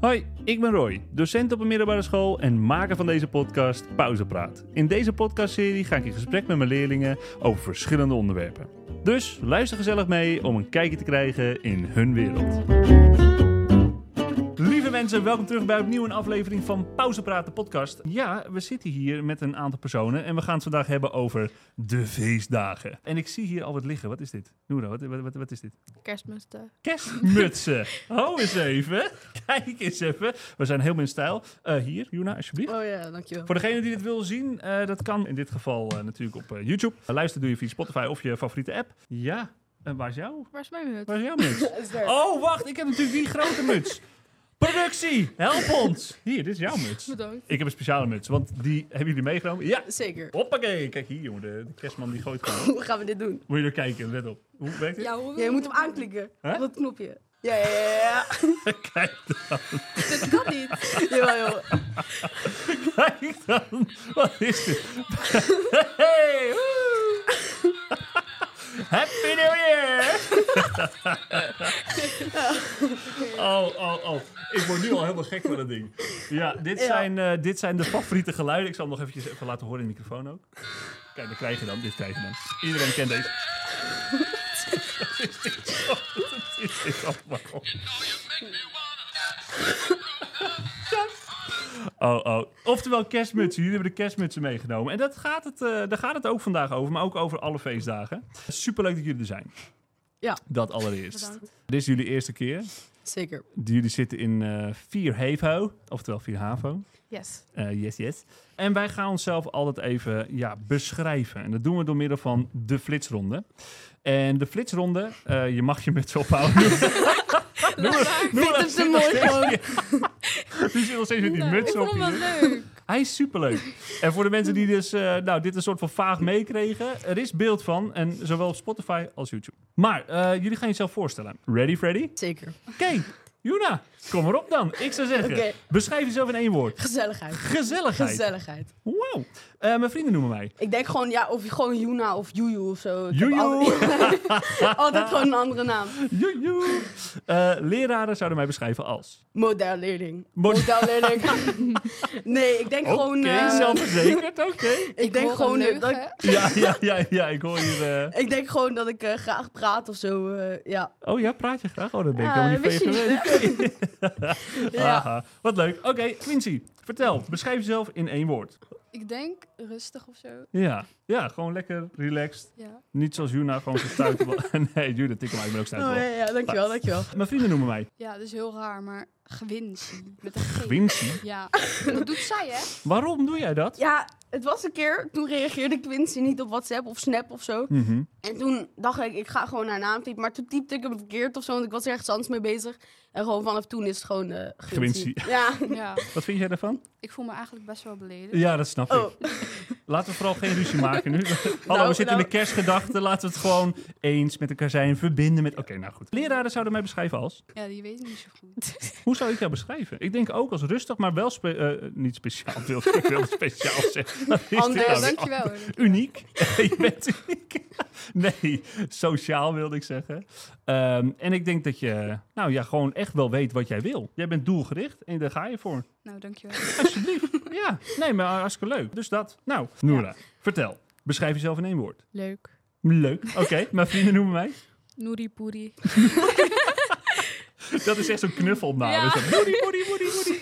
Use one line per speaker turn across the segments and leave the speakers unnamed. Hoi, ik ben Roy, docent op een middelbare school en maker van deze podcast Pauzepraat. In deze podcastserie ga ik in gesprek met mijn leerlingen over verschillende onderwerpen. Dus luister gezellig mee om een kijkje te krijgen in hun wereld. Lieve mensen, welkom terug bij opnieuw een aflevering van Pauzepraat, de podcast. Ja, we zitten hier met een aantal personen en we gaan het vandaag hebben over de feestdagen. En ik zie hier al wat liggen. Wat is dit? Noora, wat, wat, wat, wat is dit?
Kerstmusten.
Kerstmutsen. Ho eens even. Kijk eens even. We zijn helemaal in stijl. Eh, hier, Juna, alsjeblieft.
Oh ja, dankjewel.
Voor degene die dit wil zien, eh, dat kan in dit geval eh, natuurlijk op eh, YouTube. Eh, luister doe je via Spotify of je favoriete app. Ja, en waar is jouw?
Waar is mijn hut?
Waar is jouw muts? Oh, wacht, ik heb natuurlijk die grote muts. Productie, help ons. Hier, dit is jouw muts.
Bedankt.
Ik heb een speciale muts, want die hebben jullie meegenomen. Ja,
Zeker.
hoppakee. Kijk hier, jongen, de, de kerstman die gooit gewoon.
Hoe gaan we dit doen?
Moet je er kijken, let op. Hoe werkt dit?
Ja, hoe
Jij moet hem aanklikken.
Hè?
Op dat knopje. Ja, ja, ja, ja.
Kijk
Dit kan niet.
Jawel, jawel.
Kijk dan, wat is dit? Hey, woe. Happy New Year! Oh, oh, oh. Ik word nu al helemaal gek van dat ding. Ja, dit,
Ja.
Zijn, eh, dit zijn de favoriete geluiden. Ik zal hem nog eventjes even laten horen in de microfoon ook. Kijk, dat krijg je dan. Dit krijg je dan. Iedereen kent deze. Wat is dit? Wat is dit allemaal? Oh, oh. Oftewel kerstmutsen. Jullie hebben de kerstmutsen meegenomen. En dat gaat het, eh, daar gaat het ook vandaag over, maar ook over alle feestdagen. Superleuk dat jullie er zijn.
Ja.
Dat allereerst.
Bedankt.
Dit is jullie eerste keer.
Zeker.
Jullie zitten in eh Vier Hevo, oftewel Vier Havo.
Yes.
Eh, yes, yes. En wij gaan onszelf altijd even ja, beschrijven. En dat doen we door middel van de flitsronde. En de flitsronde, eh, je mag je muts ophouden.
Vind hem zo mooi gewoon.
Die zit nog steeds met die
Nou,
muts
ik
op.
vond hem
hier.
wel leuk.
Hij is superleuk. En voor de mensen die dus, eh, nou, dit een soort van vaag meekregen, er is beeld van. En zowel op Spotify als YouTube. Maar eh, jullie gaan jezelf voorstellen. Ready, Freddy?
Zeker.
Oké, Juna, kom maar op dan. Ik zou zeggen,
Oké.
beschrijf jezelf in één woord.
Gezelligheid.
Gezelligheid.
Gezelligheid.
Wauw. Eh, mijn vrienden noemen mij.
Ik denk gewoon, ja, of je gewoon Juna of Juju of zo. Ik heb
Joejoe.
al- altijd gewoon een andere naam.
Joejoe. Eh, leraren zouden mij beschrijven als...
Modelleerling.
Mod-
Modelleerling. nee, ik denk
Oké,
gewoon... eh,
zelfverzekerd, oké.
ik, denk gewoon eh, dat, ik-
Ja, ja, ja, ja, ik hoor hier... eh,
ik denk gewoon dat ik eh, graag praat of zo. eh, ja.
Oh ja, praat je graag? Oh, dat ben ik
Ja,
helemaal niet
wist
van je
je
gewend.
ja.
Aha, wat leuk. Oké, Quincy, vertel. Beschrijf jezelf in één woord.
Ik denk rustig of zo.
Ja, ja gewoon lekker relaxed.
Ja.
Niet zoals Juna, gewoon gestuitelen. nee, Judith, ik, maar ik ben ook
Oh, ja,
stuitelen.
ja, dankjewel, dankjewel.
Mijn vrienden noemen mij
Ja, dat is heel raar, maar gewinsie. Met een G.
Quincy.
Ja. Dat doet zij, hè?
Waarom doe jij dat?
Ja, het was een keer, toen reageerde Quincy niet op WhatsApp of Snap of zo.
Mhm.
En toen dacht ik, ik ga gewoon haar naam typen. Maar toen typte ik hem verkeerd of zo, want ik was ergens anders mee bezig. En gewoon vanaf toen is het gewoon eh Quincy. Ja.
Ja.
Wat vind jij daarvan?
Ik voel me eigenlijk best wel beleden.
Ja, dat snap ik.
Oh,
Laten we vooral geen ruzie maken nu. Hallo, we
Nou,
zitten
nou.
in de kerstgedachten. Laten we het gewoon eens met elkaar zijn. Verbinden met... Oké, nou goed. Leraren zouden mij beschrijven als...
Ja, die weet niet zo goed.
Hoe zou ik jou beschrijven? Ik denk ook als rustig, maar wel... spe- eh, niet speciaal, wilde ik wel speciaal zeggen. Wat is dit
Anders,
nou weer?
Dankjewel. hoor, dankjewel.
Uniek. je bent uniek. Nee, sociaal wilde ik zeggen. Ehm, en ik denk dat je nou ja, gewoon echt wel weet wat jij wil. Jij bent doelgericht en daar ga je voor.
Nou, dankjewel.
Alsjeblieft. ja, nee, maar hartstikke leuk. Dus dat. Nou, Noora, vertel. Beschrijf jezelf in één woord.
Leuk.
Leuk. Oké, mijn vrienden noemen mij.
Noeri poeri.
Dat is echt zo'n knuffelnaam.
Ja.
Dus dat- Woody, woody, woody, woody.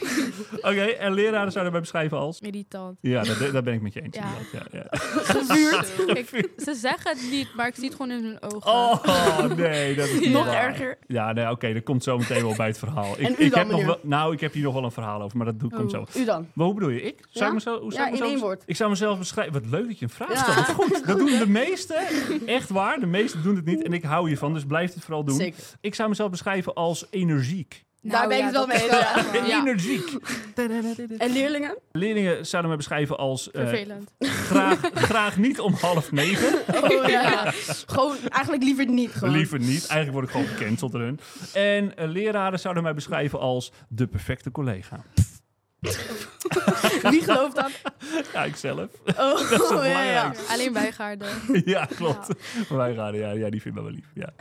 Oké, en leraren zouden mij beschrijven als...
Irritant.
Ja, daar, daar ben ik met je eens.
Ja.
inderdaad. Ja, ja.
Gevuurd. Ik- Ze zeggen het niet, maar ik zie het gewoon in hun ogen.
Oh, nee, dat is niet
nog
waar.
erger.
Ja, nee, oké, dat komt zo meteen wel bij het verhaal. Ik,
En u
ik
dan,
heb nog
meneer?
wel, nou, ik heb hier nog wel een verhaal over, maar dat doe, komt
Oh.
zo.
U dan.
Maar hoe bedoel je, ik? Zou
Ja?
ik mezelf, hoe zou ik
Ja, in
mezelf-
één woord.
Ik zou mezelf beschrijven. Wat leuk dat je een vraag
Ja.
stelt. Wat goed, dat doen de meesten. Echt waar, de meesten doen het niet. En ik hou hiervan, dus blijf het vooral doen.
Zeker.
Ik zou mezelf beschrijven als energiek.
Daar ben ik het wel mee eens, Nou ja.
Ja.
Energiek.
En leerlingen?
Leerlingen zouden mij beschrijven als eh,
Vervelend.
graag, graag niet om half negen.
Oh, ja. Gewoon, eigenlijk liever niet gewoon.
Liever niet. Eigenlijk word ik gewoon gecanceld erin. En eh, leraren zouden mij beschrijven als de perfecte collega.
Wie gelooft dat?
Ja, ikzelf.
Oh,
is toch
ja, ja, ja.
belangrijk?
Alleen bijgaarden.
ja, klopt. Wij gaan, ja, ja, die vinden we wel lief. Ja.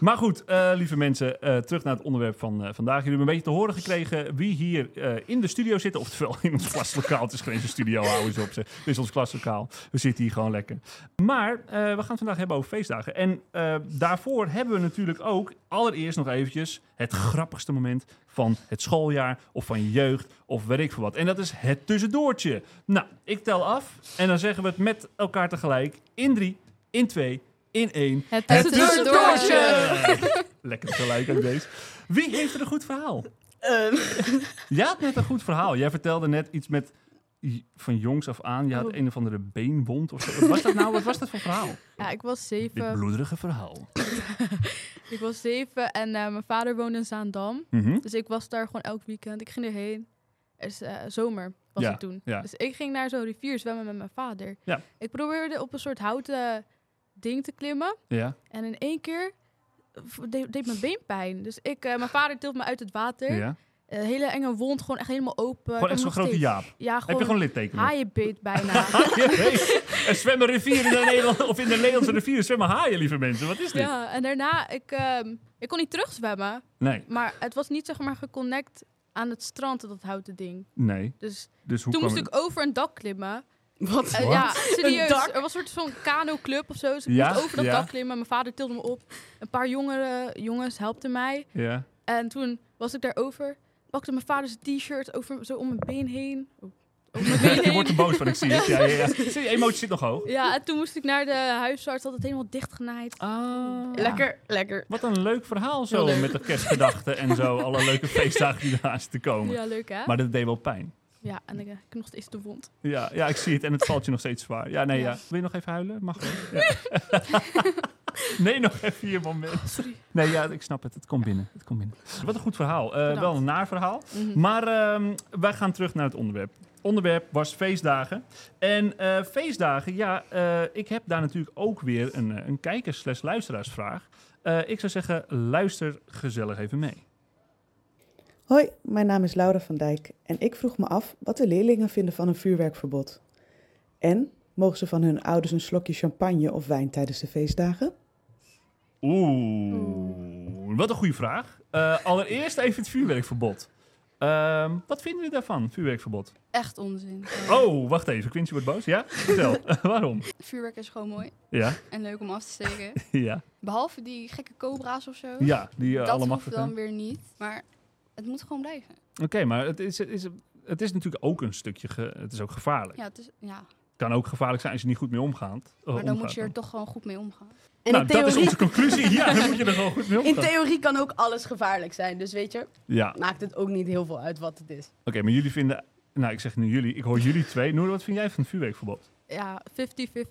Maar goed, eh, lieve mensen, eh, terug naar het onderwerp van eh, vandaag. Jullie hebben een beetje te horen gekregen wie hier eh, in de studio zitten. Oftewel in ons klaslokaal. Het is geen studio, houden ze op ze. Het is ons klaslokaal. We zitten hier gewoon lekker. Maar eh, we gaan het vandaag hebben over feestdagen. En eh, daarvoor hebben we natuurlijk ook allereerst nog eventjes het grappigste moment van het schooljaar of van je jeugd of weet ik veel wat. En dat is het tussendoortje. Nou, ik tel af en dan zeggen we het met elkaar tegelijk in drie, in twee, in één.
Het
Het
tussendoortje.
tussendoortje! Lekker gelijk ook deze. Wie heeft er een goed verhaal?
Ehm,
Jij had net een goed verhaal. Jij vertelde net iets met j- van jongs af aan. Je
Oh.
had een of andere beenwond of zo. Wat was dat nou? Wat was dat voor verhaal?
Ja, ik was
Dit
zeven.
bloederige verhaal.
Ik was zeven en eh, mijn vader woonde in Zaandam.
Mhm.
Dus ik was daar gewoon elk weekend. Ik ging erheen. Het is eh, zomer was
Ja,
het toen.
ja.
Dus ik ging naar zo'n rivier zwemmen met mijn vader.
Ja.
Ik probeerde op een soort houten ding te klimmen.
Ja.
En in één keer v- deed, deed mijn been pijn. Dus ik, eh, mijn vader tilt me uit het water. Eh,
ja.
Een hele enge wond, gewoon echt helemaal open.
Gewoon echt zo'n grote
ja.
jaap.
Ja,
Heb je
gewoon,
gewoon littekenen?
haaienbeet bijna.
er zwemmen rivieren in de Nederland, of in de Nederlandse rivieren zwemmen haaien, lieve mensen. Wat is dit?
ja, en daarna, ik, ehm, ik kon niet terugzwemmen.
Nee,
Maar het was niet zeg maar geconnect aan het strand, dat houten ding.
nee.
Dus
Dus hoe
toen
kwam
moest
het-
ik over een dak klimmen.
Wat?
Eh, ja, serieus.
dak?
Er was een soort van kanoclub of zo. Dus ik
Ja,
moest over dat
ja.
dak klimmen. Mijn vader tilde me op. Een paar jongeren, jongens helpten mij.
Ja.
En toen was ik daarover. Pakte mijn vader zijn t-shirt over, zo om mijn been heen. Oh, om mijn been
Je wordt er
heen.
boos van, ik zie het. Ja, ja, ja. Zie je, emotie zit nog hoog.
Ja, en toen moest ik naar de huisarts. Had het helemaal dichtgenaaid.
Ah.
Lekker, lekker.
Wat een leuk verhaal zo,
Heel leuk.
met de kerstgedachten en zo. Alle leuke feestdagen die eraan zitten komen.
Ja, leuk hè?
Maar dat deed wel pijn.
Ja, en ik heb nog steeds de wond.
Ja, ja, ik zie het. En het valt je nog steeds zwaar. Ja, nee, ja.
Ja.
Wil je nog even huilen? Mag wel. Ja. nee, nog even je moment. Oh, sorry. Nee, ja, ik snap het. Het komt binnen. Het komt binnen. Wat een goed verhaal. Eh, wel een naar verhaal.
Mhm.
Maar ehm, wij gaan terug naar het onderwerp. Onderwerp was feestdagen. En eh, feestdagen, ja, eh, ik heb daar natuurlijk ook weer een, eh, een kijkers slash luisteraarsvraag. Eh, ik zou zeggen, luister gezellig even mee.
Hoi, mijn naam is Laura van Dijk en ik vroeg me af wat de leerlingen vinden van een vuurwerkverbod. En mogen ze van hun ouders een slokje champagne of wijn tijdens de feestdagen?
Oeh, wat een goede vraag. Eh, allereerst even het vuurwerkverbod. Ehm, wat vinden jullie daarvan, vuurwerkverbod?
Echt onzin.
Oh, wacht even, Quincy wordt boos. Ja? Vertel, Eh, waarom?
Vuurwerk is gewoon mooi
Ja,
en leuk om af te steken.
ja,
Behalve die gekke cobra's of zo.
ja, die eh,
dat
allemaal
hoeft dan weer niet. Maar het moet gewoon blijven.
Oké, maar het is, het, is, het is natuurlijk ook een stukje, ge- het is ook gevaarlijk.
Ja, het is, ja.
kan ook gevaarlijk zijn als je niet goed mee omgaat. eh,
maar dan moet
omgaat
je er toch gewoon goed mee omgaan.
En
nou,
in,
dat is
theorie,
onze conclusie. Ja, dan moet je er gewoon goed mee
in
omgaan.
theorie kan ook alles gevaarlijk zijn. Dus weet je,
Ja, oké,
maakt het ook niet heel veel uit wat het is.
maar jullie vinden... Nou, ik zeg nu jullie. Ik hoor jullie twee. Noor, wat vind jij van het vuurwerkverbod? 50-50.
Ja, 50-50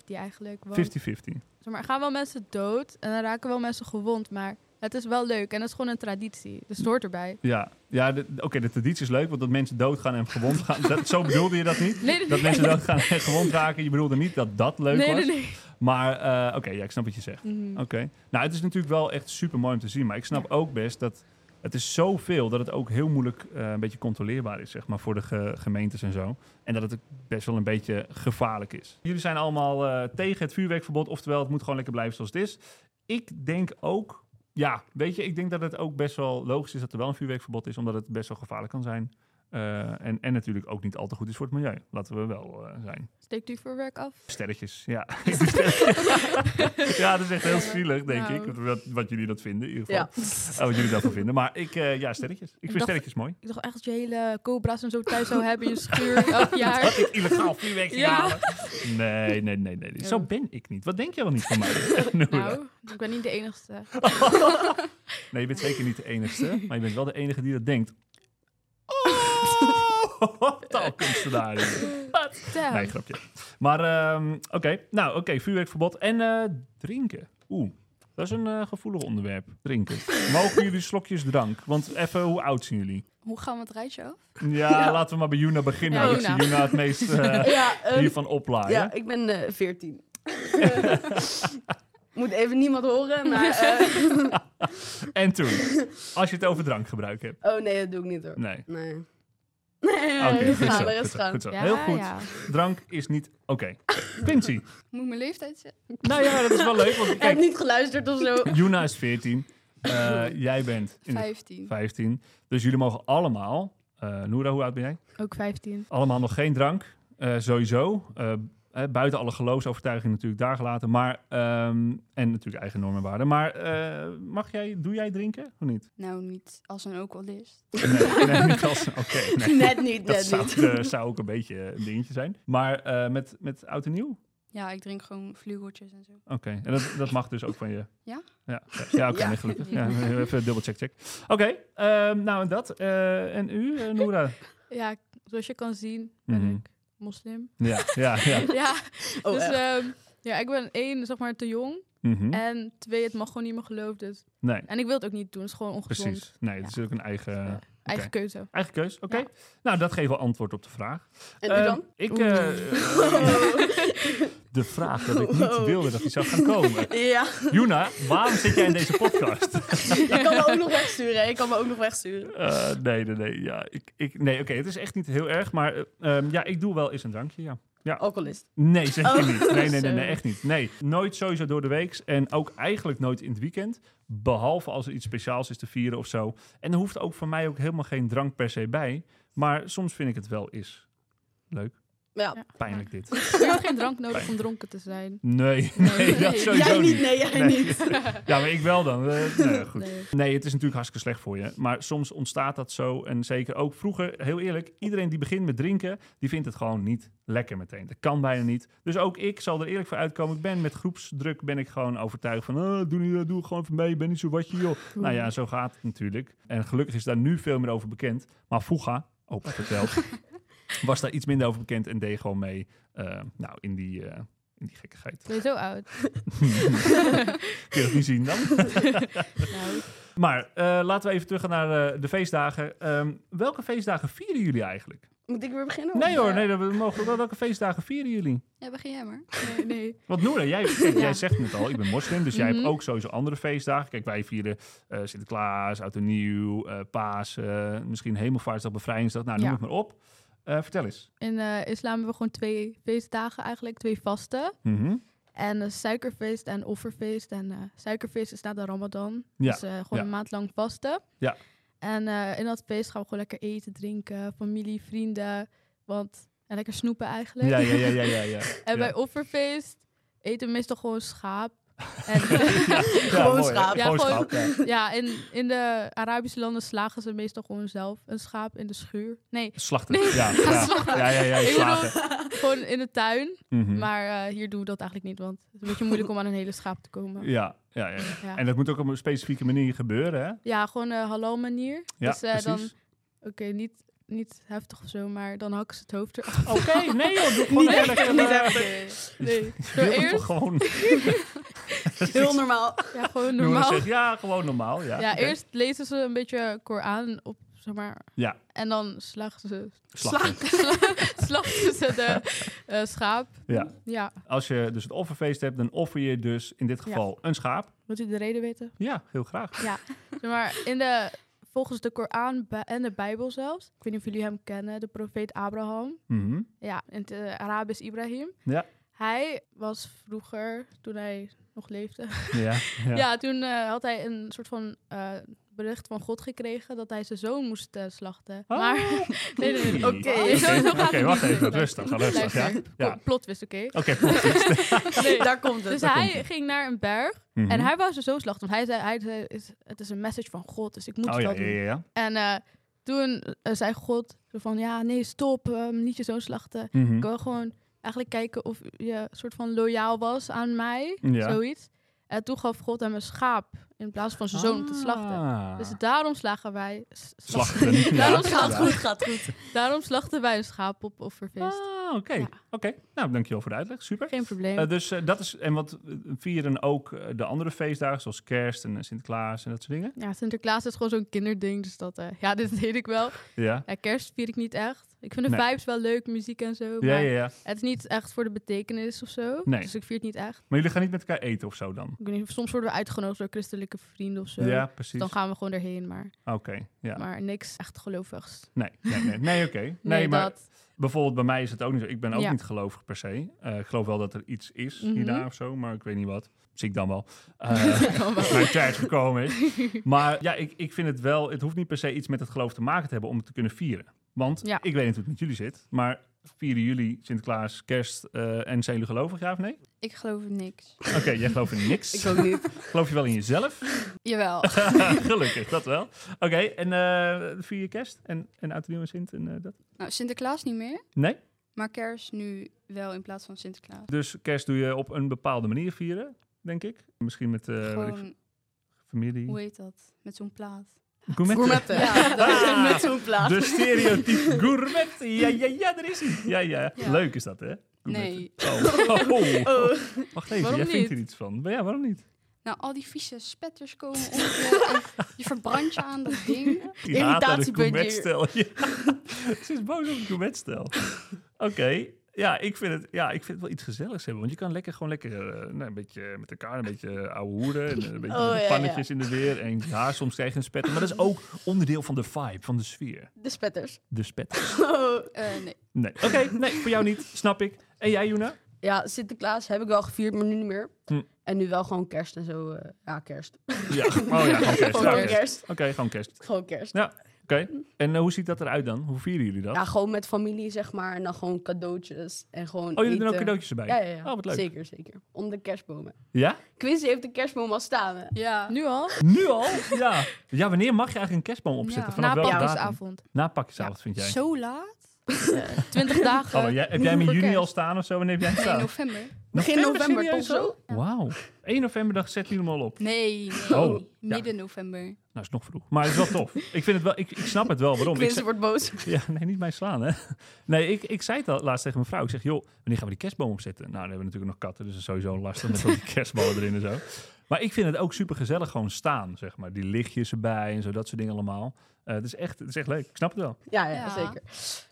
eigenlijk. Want, zeg maar, er gaan wel mensen dood en dan raken wel mensen gewond. Maar het is wel leuk en het is gewoon een traditie. Dus het hoort erbij.
Ja, ja de- oké, de traditie is leuk, want dat mensen doodgaan en gewond gaan. Dat, zo bedoelde je dat niet?
Nee,
Dat
nee, nee.
mensen doodgaan en gewond raken. Je bedoelde niet dat dat leuk
nee,
was.
nee, nee.
Maar eh, oké, ja, ik snap wat je zegt.
Mhm.
Oké. Nou, het is natuurlijk wel echt super mooi om te zien. Maar ik snap ook best dat het is zoveel dat het ook heel moeilijk eh, een beetje controleerbaar is, zeg maar, voor de ge- gemeentes en zo. En dat het ook best wel een beetje gevaarlijk is. Jullie zijn allemaal eh, tegen het vuurwerkverbod, oftewel het moet gewoon lekker blijven zoals het is. Ik denk ook, ja, weet je, ik denk dat het ook best wel logisch is dat er wel een vuurwerkverbod is, omdat het best wel gevaarlijk kan zijn. Eh, en, en natuurlijk ook niet al te goed is voor het milieu. Laten we wel eh, zijn.
Steekt u voor werk af?
Sterretjes, ja. ja, dat is echt heel zielig, denk
Nou.
ik. Wat, wat jullie dat vinden, in ieder geval.
Ja. Oh.
Eh, wat jullie daarvan vinden. Maar ik, eh, ja, sterretjes. Ik vind
dacht-
sterretjes mooi.
Ik dacht echt dat je hele cobra's en zo thuis zou hebben in je schuur elk
Wat
jaar.
ik illegaal vuurwerk ging
Ja.
halen. Nee, nee, nee, nee. nee. Zo
Oh.
ben ik niet. Wat denk jij wel niet van mij? Noora?
Nou, ik ben niet de enigste.
Nee, je bent zeker niet de enigste. Maar je bent wel de enige die dat denkt. Oh, taalkunstenaar.
Damn.
Nee, grapje. Maar ehm, oké, nou oké, vuurwerkverbod en eh, drinken. Oeh, dat is een eh, gevoelig onderwerp, drinken. Mogen jullie slokjes drank? Want even, hoe oud zijn jullie?
Hoe gaan we het rijtje af?
Ja, laten we maar bij Juna beginnen.
Ja,
ik zie
Juna.
Juna het meest eh,
Ja, ehm,
hiervan oplaaien.
ja ik ben eh 14. Moet even niemand horen, maar... eh,
En toen, als je het over drankgebruik hebt.
oh nee, dat doe ik niet hoor.
Nee.
Nee.
Oké, goed zo,
Rustig aan,
goed
rustig
zo,
aan.
goed zo.
Ja,
Heel goed.
ja.
Drank is niet... Oké. Quincy.
Moet ik mijn leeftijd zeggen?
Nou ja, dat is wel leuk. Want
Ik heb
kijk,
niet geluisterd of zo.
Juna is 14. eh, jij bent in de
15.
15. Dus jullie mogen allemaal... eh Noora, hoe oud ben jij?
Ook 15.
Allemaal nog geen drank. eh, sowieso. Eh, eh, buiten alle geloofsovertuiging natuurlijk daar gelaten. Maar, ehm, en natuurlijk eigen normen en waarden. Maar eh, mag jij, doe jij drinken of niet?
Nou, niet als een alcoholist.
Nee, nee niet als- Oké, nee.
Net niet,
Dat
net
zou,
niet.
eh, zou ook een beetje een dingetje zijn. Maar eh, met, met oud en nieuw?
Ja, ik drink gewoon vlugeltjes en zo.
Oké, en dat, dat mag dus ook van je.
Ja?
Ja, ja, ja oké,
Ja.
nee, gelukkig. Ja, even dubbel check, check. Oké, ehm, nou en dat. Eh, en u, eh, Noora?
Ja, zoals je kan zien ben
Mhm.
ik moslim.
Ja, ja, ja.
Ja,
Oh,
dus
echt?
ehm, ja, ik ben één, zeg maar, te jong.
Mhm.
En twee, het mag gewoon niet meer geloof. Dus.
Nee,
En ik wil het ook niet doen. Het is gewoon ongezond.
precies. Nee, het is ook een eigen,
Ja. Eigen keuze.
eigen keus. Oké,
Ja.
nou dat geeft wel antwoord op de vraag.
En nu
Ehm,
dan?
Ik,
Oeh.
eh, de vraag dat ik niet
Wow.
wilde dat die zou gaan komen.
Ja,
Juna, waarom zit jij in deze podcast?
je kan me ook nog wegsturen. hè. Je kan me ook nog wegsturen.
Eh, nee, nee, nee. Ja, ik, ik, nee oké, het is echt niet heel erg. Maar eh, ehm, ja, ik doe wel eens een drankje, ja.
Alcoholist.
Nee, zeker
Oh,
niet. Nee, nee, nee, nee,
sorry.
echt niet. Nee, nooit sowieso door de week. En ook eigenlijk nooit in het weekend. Behalve als er iets speciaals is te vieren of zo. En er hoeft ook voor mij ook helemaal geen drank per se bij. Maar soms vind ik het wel eens leuk.
Ja.
Ja.
Pijnlijk dit.
Je hebt geen drank nodig
Fijn.
om dronken te zijn.
Nee, nee,
Nee,
dat
nee.
sowieso
Jij niet,
niet.
nee, jij
Nee.
niet.
Ja, maar ik wel dan. Eh, nou ja, goed.
Nee.
Nee, het is natuurlijk hartstikke slecht voor je. Maar soms ontstaat dat zo. En zeker ook vroeger, heel eerlijk, iedereen die begint met drinken, die vindt het gewoon niet lekker meteen. Dat kan bijna niet. Dus ook ik zal er eerlijk voor uitkomen. Ik ben met groepsdruk ben ik gewoon overtuigd van, "Ah, doe, niet, doe gewoon even mee, je bent niet zo wat je joh. Nou ja, zo gaat het natuurlijk. En gelukkig is daar nu veel meer over bekend. Maar vroeger, opa vertelt, was daar iets minder over bekend en deed gewoon mee eh, nou, in die, eh, in die gekkigheid.
Ben je zo oud?
Kun je dat niet zien dan?
Nou,
Maar eh, laten we even teruggaan naar eh, de feestdagen. Ehm, welke feestdagen vieren jullie eigenlijk?
Moet ik weer
Oh,
beginnen?
Nee hoor, nee, dat we mogen, wel- welke feestdagen vieren jullie?
Ja, begin jij maar.
nee, nee.
Want Noora, jij, kijk, jij zegt het al, ik ben moslim, dus jij
Mhm.
hebt ook sowieso andere feestdagen. Kijk, wij vieren eh, Sinterklaas, Oud en Nieuw, eh, Paas, eh, misschien Hemelvaartsdag, Bevrijdingsdag, nou noem
Ja.
het maar op. Eh, vertel eens.
In eh, islam hebben we gewoon twee feestdagen eigenlijk. Twee vasten.
Mhm.
En eh, suikerfeest en offerfeest. En eh, suikerfeest is na de ramadan.
Ja,
Dus eh, gewoon
ja.
een maand lang vasten.
Ja.
En eh, in dat feest gaan we gewoon lekker eten, drinken, familie, vrienden. Want, en lekker snoepen eigenlijk.
Ja, ja, ja, ja, ja. ja.
En
Ja.
bij offerfeest eten we meestal gewoon schaap. En,
Gewoon
mooi, hè?
schaap.
Ja,
Gewoon
gewoon-
schaap, ja.
ja, in, in de Arabische landen slagen ze meestal gewoon zelf een schaap in de schuur. Nee,
Slachten, ja. Ja,
slachten.
ja, ja, ja,
Ik bedoel-
slagen.
gewoon in de tuin.
Mhm.
Maar eh, hier doen we dat eigenlijk niet, want het is een beetje moeilijk om aan een hele schaap te komen.
Ja, ja, ja, ja.
Ja,
En dat moet ook op een specifieke manier gebeuren, hè?
ja gewoon een halal manier.
Ja,
dus eh, dan,
precies.
oké, niet, niet heftig of zo, maar dan hakken ze het hoofd eraf.
Oké, nee joh, doe gewoon
echt,
lekker,
niet
eh,
echt.
Nee,
Wil
zo
het toch
eerst,
gewoon
Heel normaal.
ja, gewoon
Noora
normaal.
zegt, ja, gewoon normaal. Ja,
Ja,
Oké.
eerst lezen ze een beetje Koran op, zeg maar.
Ja.
En dan slachten ze,
Slachten.
slachten ze de eh, schaap.
Ja.
Ja,
Als je dus het offerfeest hebt, dan offer je dus in dit geval een schaap.
wilt u de reden weten?
Ja, heel graag.
Zeg maar, in de, volgens de Koran bij- en de Bijbel zelfs, ik weet niet of jullie hem kennen, de profeet Abraham.
Mhm.
Ja, in het eh, Arabisch Ibrahim.
Ja.
Hij was vroeger, toen hij nog leefde,
ja, ja.
ja, toen eh, had hij een soort van eh, bericht van God gekregen dat hij zijn zoon moest eh, slachten.
Oh.
Maar, nee, nee, nee.
Oké.
Oké, zo- zo gaat
Oké,
het
wacht
niet.
even, rustig, rustig. Ja.
Luister,
Ja.
ja. plotwist, oké?
Oké, klopt.
Nee.
Daar komt
Dus
het.
hij ging naar een berg
Mhm.
en hij wou ze zo slachten. Want hij zei, hij zei "Is- het is een message van God, dus ik moet
Oh ja,
dat
ja,
doen.
ja. ja.
En eh, toen eh, zei God zo van, ja, nee, stop, eh, niet je zo slachten.
Mhm.
Ik wil gewoon eigenlijk kijken of je soort van loyaal was aan mij,
Ja.
zoiets. En toen gaf God hem een schaap in plaats van zijn zoon om te slachten.
Ah.
Dus daarom slagen wij... s-
Slachten. Ja.
Daarom
Gaat
slachten,
goed, gaat goed.
daarom slachten wij een schaap op offerfeest.
Ah, oké.
Ja.
Oké, nou dankjewel voor de uitleg. Super.
Geen probleem.
Eh, dus eh, dat is, en wat eh, vieren ook eh, de andere feestdagen, zoals kerst en eh, Sinterklaas en dat soort dingen?
ja, Sinterklaas is gewoon zo'n kinderding. Dus dat, eh, ja, dit weet ik wel.
Ja.
Ja, kerst vier ik niet echt. Ik vind de
Nee.
vibes wel leuk, muziek en zo. Maar
Ja, ja, ja.
het is niet echt voor de betekenis of zo.
Nee.
Dus ik vier het niet echt.
Maar jullie gaan niet met elkaar eten of zo dan?
Ik weet niet, soms worden we uitgenodigd door christelijke vrienden of zo.
Ja,
Dus
precies.
dan
Oké,
gaan we gewoon erheen. Maar,
ja.
maar niks echt gelovigs.
Nee, nee, nee, nee oké. Nee, maar
dat.
bijvoorbeeld bij mij is het ook niet zo. Ik ben ook
Ja.
niet gelovig per se. Eh, ik geloof wel dat er iets is
Mhm.
hierna of zo, maar ik weet niet wat. Zie ik dan wel. Eh,
Dan wel.
als mijn tijd gekomen is. Maar ja, ik, ik vind het wel... Het hoeft niet per se iets met het geloof te maken te hebben om het te kunnen vieren. Want
Ja.
ik weet niet hoe het met jullie zit, maar vieren jullie Sinterklaas, kerst eh, en zijn jullie gelovig, ja of nee?
Ik geloof in niks.
Oké, jij gelooft in niks.
Ik ook niet.
geloof je wel in jezelf?
Jawel.
Gelukkig, dat wel. Oké, en eh vier je kerst en, en oud en nieuw en Sint en eh, dat?
nou, Sinterklaas niet meer.
Nee?
Maar kerst nu wel in plaats van Sinterklaas.
Dus kerst doe je op een bepaalde manier vieren, denk ik. Misschien met eh, weet ik veel,
Gewoon,
familie.
hoe heet dat? Met zo'n plaat.
Gourmet.
Gourmetten.
Ja, dat is
Ah.
met zo'n plaat.
De stereotype gourmet. Ja, ja, ja, er is hij. Ja, ja,
Ja.
Leuk is dat, hè? Gourmet.
Nee.
Oh. Oh.
Oh.
Wacht even,
Waarom
jij vindt
niet?
er iets van. Maar ja, waarom niet?
Nou, al die vieze spetters komen op je. en je verbrandt je aan dat ding.
Die haat aan het
Irritatiepuntje.
gourmetstel. Ja. Ze is boos op het gourmetstel. Oké. Ja, ik vind het, ja, ik vind het wel iets gezelligs hebben. Want je kan lekker gewoon lekker eh, nou, een beetje met elkaar, een beetje eh, ouwe hoeren. En, eh, een beetje
Oh, ja,
pannetjes in de weer. En ja, soms krijg je een spetter. Maar dat is ook onderdeel van de vibe, van de sfeer.
De spetters.
De spetter.
Oh.
Eh, nee.
Nee. Oké, nee, voor jou niet. Snap ik. En jij, Juna?
Ja, Sinterklaas heb ik wel gevierd, maar nu niet meer.
Hm.
En nu wel gewoon kerst en zo. eh, ja, kerst.
Ja. Oh ja, gewoon kerst.
Gewoon
Ja,
kerst.
kerst. Oké, gewoon kerst.
Gewoon kerst.
Oké. En eh, hoe ziet dat eruit dan? Hoe vieren jullie dat?
Ja, gewoon met familie, zeg maar. En dan gewoon cadeautjes. En gewoon
oh, jullie doen ook
eten.
cadeautjes erbij?
eh, Ja, ja, ja.
Oh, wat leuk.
Zeker, zeker. Onder de kerstbomen.
Ja?
Quincy heeft de kerstboom al staan. hè?
Ja.
Nu al?
Nu al? Ja. Ja, wanneer mag je eigenlijk een kerstboom opzetten?
Ja.
Vanaf
Na
welke datum?
pakjesavond.
Na pakjesavond, vind jij?
Zo laat?
20 dagen.
Hallo, jij, heb
eh,
jij hem in
Voor
juni
kerst.
al staan of zo? Wanneer heb jij hem
Nee,
staan?
november.
Begin november
serieus
toch
al?
zo?
Ja.
Wauw. 1 november dag zet hij hem al op.
Nee, nee.
Oh, ja.
midden november.
Nou, is nog vroeg. Maar het is wel tof. ik, vind het wel, ik, ik snap het wel waarom. Ik
Quincy wordt boos.
ze- ja, nee, niet mij slaan, hè. Nee, ik, ik zei het al laatst tegen mijn vrouw. Ik zeg, joh, wanneer gaan we die kerstboom opzetten? Nou, dan hebben we natuurlijk nog katten, dus dat is sowieso lastig met al die kerstballen erin en zo. Maar ik vind het ook super gezellig gewoon staan, zeg maar. Die lichtjes erbij en zo, dat soort dingen allemaal. Eh, het, is echt, het is echt leuk. Ik snap het wel.
Ja, ja,
Ja.
zeker.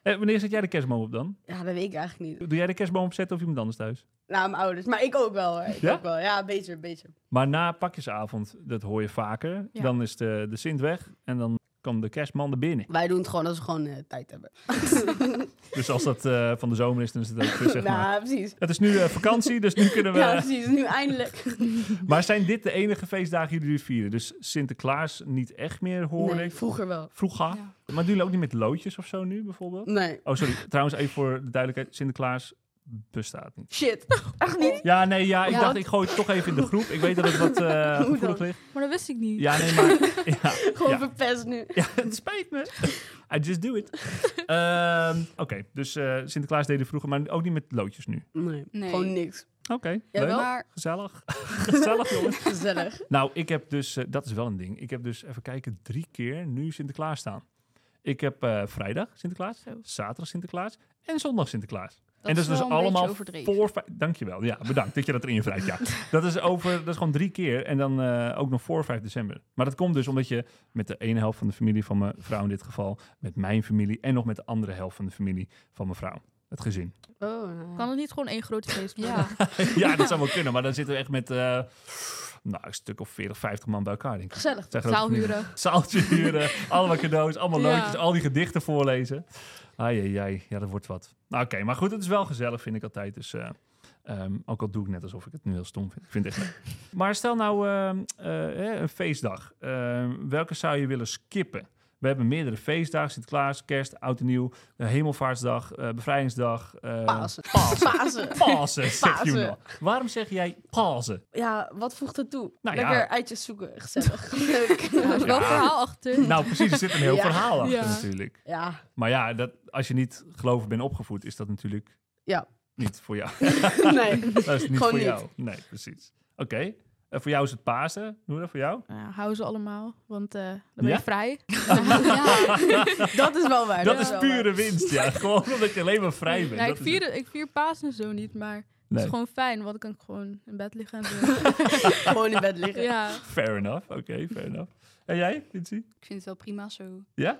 Eh, wanneer zet jij de kerstboom op dan?
Ja, dat weet ik eigenlijk niet.
Doe jij de kerstboom opzetten of iemand anders thuis?
Nou, mijn ouders. Maar ik ook wel. Hoor. Ik
Ja?
ook wel. Ja, beter, beter.
Maar na pakjesavond, dat hoor je vaker.
Ja.
Dan is de, de Sint weg en dan komt de kerstman er binnen.
Wij doen het gewoon als we gewoon eh, tijd hebben.
Dus als dat eh, van de zomer is, dan is het ook weer, zeg maar.
Nou, precies.
Het is nu eh, vakantie, dus nu kunnen we...
Ja, precies. Nu eindelijk.
Maar zijn dit de enige feestdagen die jullie vieren? Dus Sinterklaas niet echt meer, hoor
Nee,
ik.
vroeger wel.
Vroeger.
Ja.
Maar doen jullie ook niet met loodjes of zo nu, bijvoorbeeld?
Nee.
Oh, sorry. Trouwens, even voor de duidelijkheid. Sinterklaas bestaat niet.
Shit. Echt niet?
Ja, nee, ja. Ik
Ja,
dacht,
want-
ik gooi het toch even in de groep. Ik weet dat het wat eh gevoelig
dan?
ligt.
Maar dat wist ik niet.
Ja, nee, maar... Ja.
Gewoon
Ja.
verpest nu.
Ja, het spijt me. I just do it. Ehm, Oké, dus eh, Sinterklaas deden vroeger, maar ook niet met loodjes nu.
Nee.
Nee.
Gewoon niks.
Oké,
Jij
leuk.
wel?
Maar
Gezellig. Gezellig, jongens.
Gezellig.
Nou, ik heb dus, eh, dat is wel een ding. Ik heb dus, even kijken, drie keer nu Sinterklaas staan. Ik heb eh, vrijdag Sinterklaas,
Zo.
zaterdag Sinterklaas en zondag Sinterklaas. en dat
is
is dus
wel een beetje
allemaal
overdreven.
voor... vij- Dankjewel, ja, bedankt dat je dat erin wrijft. Ja. Dat, is over, dat is gewoon drie keer en dan eh, ook nog voor 5 december. Maar dat komt dus omdat je met de ene helft van de familie van mijn vrouw in dit geval... met mijn familie en nog met de andere helft van de familie van mijn vrouw. Het gezin.
Oh,
Kan het niet gewoon één grote feest worden?
ja,
ja, dat zou wel kunnen, maar dan zitten we echt met... eh, nou, een stuk of 40, 50 man bij elkaar, denk ik.
Gezellig.
Zeg dat
Zaal
niet.
huren.
Zaaltje huren, allemaal cadeaus, allemaal
Ja.
loodjes, al die gedichten voorlezen. Ai, ai, ja, dat wordt wat. Nou, Oké, maar goed, het is wel gezellig, vind ik altijd. Dus, eh, ehm, ook al doe ik net alsof ik het nu heel stom vind. Ik vind het echt leuk. Maar stel nou ehm, eh, eh, een feestdag. Ehm, welke zou je willen skippen? We hebben meerdere feestdagen. Sinterklaas, kerst, oud en nieuw, eh, hemelvaartsdag, eh, bevrijdingsdag. eh,
Pasen.
Pasen.
Pasen.
Pasen, zegt
Pasen.
Juno. Waarom zeg jij Pasen?
Ja, wat voegt het toe?
Nou ja.
Lekker uitjes zoeken. Gezellig. Leuk.
Er is wel een
Ja.
verhaal achter.
Nou, precies, er zit een heel
Ja.
verhaal achter
Ja.
natuurlijk.
Ja.
Maar ja, dat, als je niet gelovig bent opgevoed, is dat natuurlijk
Ja.
niet voor jou.
Nee.
dat is niet
Gewoon
voor
niet.
jou. Nee, precies. Oké. En voor jou is het Pasen. Hoe dat voor jou?
Nou, hou ze allemaal, want eh, dan ben je
Ja?
vrij.
Ja,
Dat is wel waar.
dat
wel
is
waar.
pure winst, ja. Gewoon omdat je alleen maar vrij bent.
Ja, ik,
Dat is-
vier, ik vier Pasen zo niet, maar het
Nee,
is gewoon fijn, want dan kan ik gewoon in bed liggen. En doen.
Gewoon in bed liggen.
ja.
fair enough. Oké, fair enough. En jij, Lindsay?
ik vind het wel prima zo.
Ja?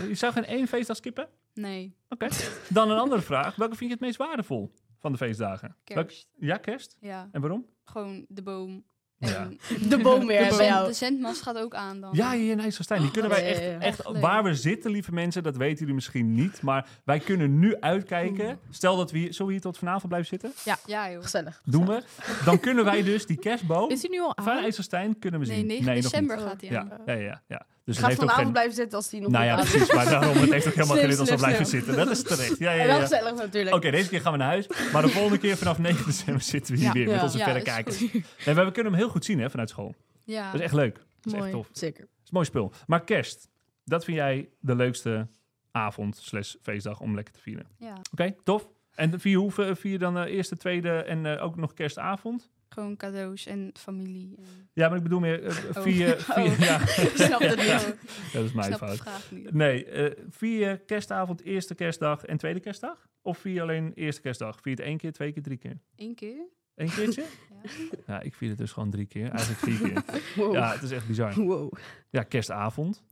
Ja.
Je zou geen één feestdag skippen?
Nee,
Oké. Dan een andere vraag. Welke vind je het meest waardevol van de feestdagen? Welke-
kerst.
Ja, kerst.
Ja,
En waarom?
gewoon de boom.
Ja.
En
De boom
de,
weer bij
zend-
jou.
de zendmast gaat ook aan dan.
Ja, hier in IJsselstein. Die kunnen wij
Oh. ja, ja,
echt,
ja.
Echt
echt
leuk.
waar we zitten, lieve mensen, dat weten jullie misschien niet. Maar wij kunnen nu uitkijken.
Hmm.
Stel dat we hier, zullen we hier tot vanavond blijven zitten?
Ja, joh.
Gezellig.
Doen we. Dan kunnen wij dus die kerstboom
Is hij nu al
van
aan?
IJsselstein kunnen we zien.
Nee, 9
nog
december
niet.
gaat hij aan.
Ja, ja, ja, ja. Dus
Ik
het
ga
heeft ook
vanavond
geen...
blijven zitten als die nog
Nou ja,
niet aan-
precies. Maar daarom het heeft ook helemaal geen
Slim,
nut als we
slim,
blijven
slim.
zitten. Dat is terecht. Ja, ja,
Wel
ja.
gezellig natuurlijk.
Oké, deze keer gaan we naar huis. Maar de volgende keer vanaf 9 december zitten we hier
Ja.
weer met
Ja.
onze
Ja,
verrekijkers.
dat is
Nee, maar we kunnen hem heel goed zien hè, vanuit school.
Ja.
Dat is echt leuk. Dat is echt
Mooi.
tof. Dat
Zeker.
is een mooi spul. Maar kerst, dat vind jij de leukste avond slash feestdag om lekker te vieren. Oké,
ja.
tof. En vier hoeven, vier dan eh, eerste, tweede en eh, ook nog kerstavond?
Gewoon cadeaus en familie. En...
Ja, maar ik bedoel meer eh,
Oh.
vier... vier
Oh.
Ja,
Ik snap het niet.
Ja, dat is
Ik
mijn
snap de
fout.
vraag niet.
Nee, eh vier kerstavond, eerste kerstdag en tweede kerstdag? Of vier alleen eerste kerstdag? Vier het één keer, twee keer, drie keer?
Eén keer?
Eén keertje?
Ja.
Ja, ik vier het dus gewoon drie keer. Eigenlijk vier keer.
Wow.
Ja, het is echt bizar.
Wow.
Ja, kerstavond.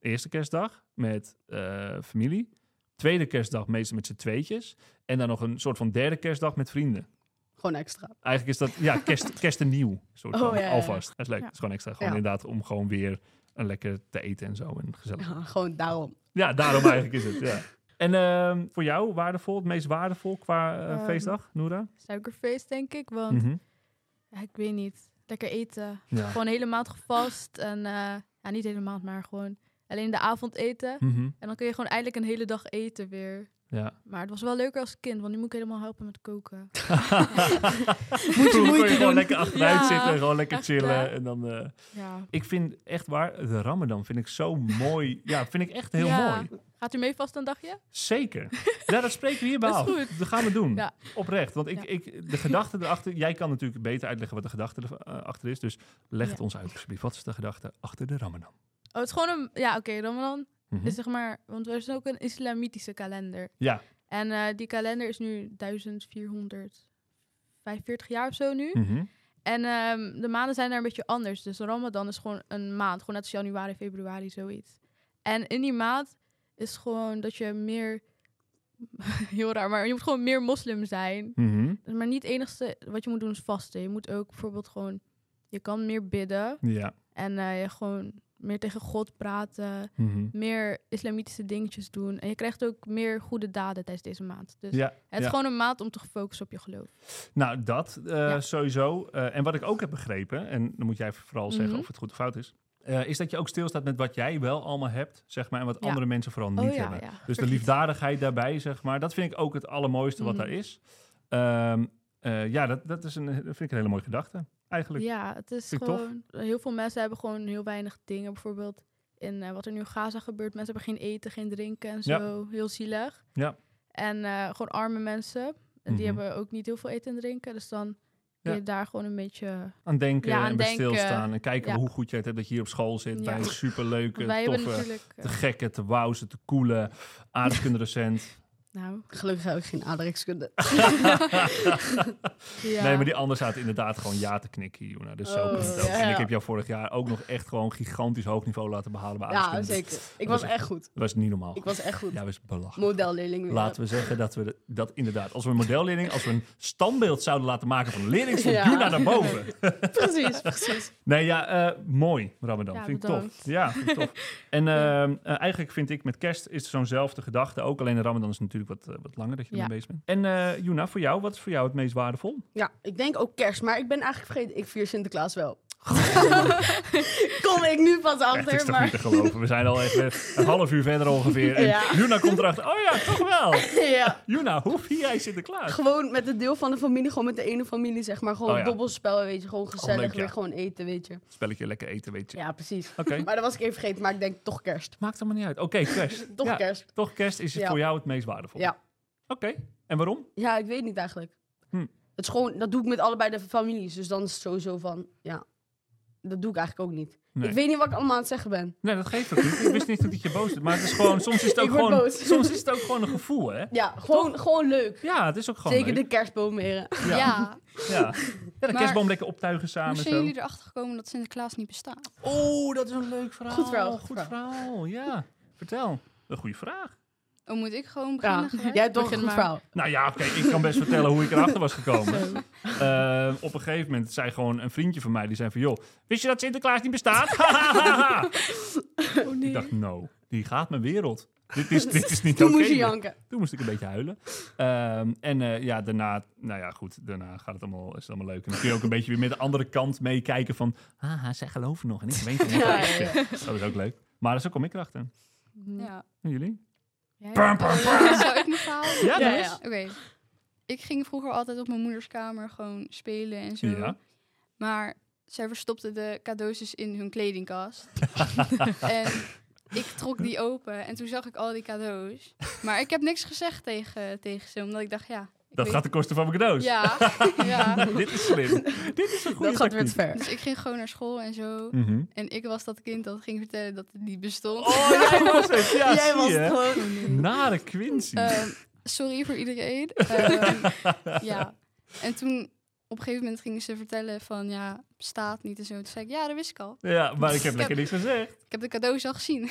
Eerste kerstdag met eh, familie. Tweede kerstdag meestal met z'n tweetjes. En dan nog een soort van derde kerstdag met vrienden.
Gewoon extra.
Eigenlijk is dat, ja, kerst, kerst en nieuw. Soort
Oh,
van,
ja, ja, ja.
alvast. Dat is leuk.
Ja.
Dat is gewoon extra. Gewoon
Ja.
inderdaad om gewoon weer een lekker te eten en zo. En gezellig.
Ja, gewoon daarom.
Ja, daarom eigenlijk is het. Ja. En ehm, voor jou waardevol, het meest waardevol qua eh,
Ehm,
feestdag, Noora?
Suikerfeest, denk ik, want
Mhm.
ja, ik weet niet. Lekker eten.
Ja.
Gewoon helemaal gevast en eh, ja, niet helemaal, maar gewoon alleen de avond eten.
Mhm.
En dan kun je gewoon eindelijk een hele dag eten weer.
ja.
Maar het was wel leuker als kind, want nu moet ik helemaal helpen met koken.
Vroeger kon je
moeite
gewoon
doen.
lekker achteruit
Ja,
zitten en gewoon lekker
echt,
chillen.
hè?
En dan, eh,
Ja.
ik vind echt waar, de Ramadan vind ik zo mooi. Ja, vind ik echt heel
Ja.
mooi.
Gaat u mee vast een dagje? Oh,
Zeker. Ja, dat spreken we hierbij
Dat
af.
is
Dat
goed.
gaan we doen.
Ja.
Oprecht. Want ik,
Ja.
ik, de gedachte erachter... Jij kan natuurlijk beter uitleggen wat de gedachte erachter is. Dus leg het
Ja.
ons uit, alsjeblieft. Wat is de gedachte achter de Ramadan?
Oh, het is gewoon een... Ja, oké, dan dan
Mhm.
is zeg maar... Want er is ook een islamitische kalender.
Ja.
En eh, die kalender is nu 1445 jaar of zo nu.
Mhm.
En ehm, de maanden zijn daar een beetje anders. Dus Ramadan is gewoon een maand. Gewoon net als januari, februari, zoiets. En in die maand is gewoon dat je meer... Heel raar, maar je moet gewoon meer moslim zijn.
Mhm.
Maar niet het enigste wat je moet doen is vasten. Je moet ook bijvoorbeeld gewoon... Je kan meer bidden.
Ja.
En eh, je gewoon meer tegen God praten.
Mhm.
Meer islamitische dingetjes doen. En je krijgt ook meer goede daden tijdens deze maand. Dus
Ja.
het is
ja.
gewoon een maand om te focussen op je geloof.
Nou, dat eh,
Ja.
sowieso. Eh, en wat ik ook heb begrepen, en dan moet jij vooral zeggen
Mhm.
of het goed of fout is, eh, is dat je ook stilstaat met wat jij wel allemaal hebt, zeg maar, en wat
Ja.
andere mensen vooral niet
oh ja,
hebben.
ja.
Dus de liefdadigheid daarbij, zeg maar, dat vind ik ook het allermooiste wat
Mhm.
daar is. Ehm, eh, ja, dat, dat, is een, dat vind ik een hele mooie gedachte, eigenlijk.
Ja, het is
Vind ik tof.
gewoon... Heel veel mensen hebben gewoon heel weinig dingen. Bijvoorbeeld in eh, wat er nu in Gaza gebeurt. Mensen hebben geen eten, geen drinken en
Ja.
zo. Heel zielig.
Ja.
En eh, gewoon arme mensen. En
Mhm.
die hebben ook niet heel veel eten en drinken. Dus dan kun je daar gewoon een beetje...
Aan denken
Ja, aan
en bij
denken.
stilstaan en kijken
Ja.
hoe goed jij het hebt dat je hier op school zit
Ja.
bij een superleuke,
Want wij hebben
toffe,
natuurlijk... eh,
te gekke, te wauwse, te coole, aardkunderecent.
nou,
Gelukkig heb ik geen aardrijkskunde.
ja.
Nee, maar die ander zaten inderdaad gewoon ja te knikken, Juna. Dus zo
Oh,
kan het ook.
ja,
En ik
ja.
heb jou vorig jaar ook nog echt gewoon gigantisch hoog niveau laten behalen bij
Ja,
aardrijkskunde.
zeker. Ik
was
was
echt-
echt goed.
Dat was niet normaal.
Ik was echt goed.
Ja, was belachelijk.
Modelleerling weer.
Laten we zeggen dat we de- dat inderdaad, als we een modelleerling, als we een standbeeld zouden laten maken van de leerling, stond
Ja.
Juna naar boven.
Precies, precies.
Nee, ja, eh, mooi, Ramadan.
Ja,
vind ik
bedankt.
tof. Ja, vind ik tof. En ehm, eh, eigenlijk vind ik met kerst is zo'nzelfde gedachte ook. Alleen de Ramadan is natuurlijk wat, eh, wat langer dat je
Ja.
ermee bezig bent. En eh Juna, voor jou, wat is voor jou het meest waardevol?
Ja, ik denk ook kerst, maar ik ben eigenlijk vergeten, ik vier Sinterklaas wel. Kom ik nu pas
Echt, is
achter,
toch niet te
maar...
geloven. We zijn al echt eh, een half uur verder ongeveer. En
Ja.
Juna komt erachter. Oh ja, toch wel.
ja,
Juna, hoe vier jij Sinterklaas?
gewoon met het deel van de familie, gewoon met de ene familie, zeg maar. Gewoon
Oh ja.
dobbelspel, weet je. Gewoon gezellig,
leuk, ja.
weer gewoon eten, weet je.
Spelletje lekker eten, weet je.
Ja, precies.
Oké.
Maar dat was ik even vergeten, maar ik denk toch kerst.
Maakt allemaal niet uit. Oké, kerst.
Toch
Ja,
kerst.
Toch kerst is het
Ja.
voor jou het meest waardevol.
Ja.
Oké. En waarom?
Ja, ik weet niet eigenlijk.
Hm.
Het is gewoon, dat doe ik met allebei de families. Dus dan is het sowieso van, ja, dat doe ik eigenlijk ook niet.
Nee.
Ik weet niet wat ik allemaal aan het zeggen ben.
Nee, dat geeft ook niet. Ik wist niet dat ik je boos was. Maar het is gewoon, soms is het ook
Ik word
gewoon,
boos.
soms is het ook gewoon een gevoel, hè?
Ja, gewoon, gewoon leuk.
Ja, het is ook gewoon
Zeker
leuk.
de kerstboom eren.
Ja.
Ja.
Ja. Ja, de
Maar-
kerstboom lekker optuigen
Hoe
samen
zijn
zo.
jullie erachter gekomen dat Sinterklaas niet bestaat?
Oh, dat is een leuk verhaal.
Goed verhaal, goed
Goed verhaal, ja. Vertel. Een goede vraag.
Oh, moet ik gewoon
Ja,
beginnen? gelijk?
jij hebt toch
Begin
een goed
maar.
verhaal.
Nou ja, oké, ik kan best vertellen hoe ik erachter was gekomen. Eh, op een gegeven moment zei gewoon een vriendje van mij, die zei van... joh, wist je dat Sinterklaas niet bestaat?
Oh nee.
ik dacht, no, die gaat mijn wereld. Dit is, dit is niet oké.
Toen moest je janken.
Toen moest ik een beetje huilen. Ehm, en eh, ja, daarna, nou ja, goed, daarna gaat het allemaal, is het allemaal leuk. En dan kun je ook een beetje weer met de andere kant meekijken van, haha, zij geloven nog en ik weet het niet.
Ja, ja, ja.
Dat is ook leuk. Maar dus zo kom ik erachter.
Mm.
Ja. Oh,
En jullie?
Jij?
Pam, pam, pam.
Zou ik mijn verhaal?
Ja,
Ja,
doe
ja.
eens.
Oké. Ik ging vroeger altijd op mijn moeders kamer gewoon spelen en zo.
Ja.
Maar zij verstopte de cadeaus dus in hun kledingkast. en ik trok die open en toen zag ik al die cadeaus. Maar ik heb niks gezegd tegen, tegen ze, omdat ik dacht, ja... ik
Dat
weet-
gaat de kosten van mijn cadeaus.
Ja, ja.
Dit is slim. Dit is een goede
Dat gaat weer te
tactiek.
ver.
Dus ik ging gewoon naar school en zo.
Mhm.
En ik was dat kind dat ging vertellen dat het niet bestond.
Oh, jij was het. Ja,
Jij
zie
was
je.
het Eh, gewoon.
Nare Quincy.
Ehm, sorry voor iedereen. Ehm, ja. En toen op een gegeven moment gingen ze vertellen van ja, staat niet en zo. Toen zei ik, ja, dat wist ik al.
ja, maar ik heb
ik
lekker niks gezegd.
Ik heb de cadeaus al gezien.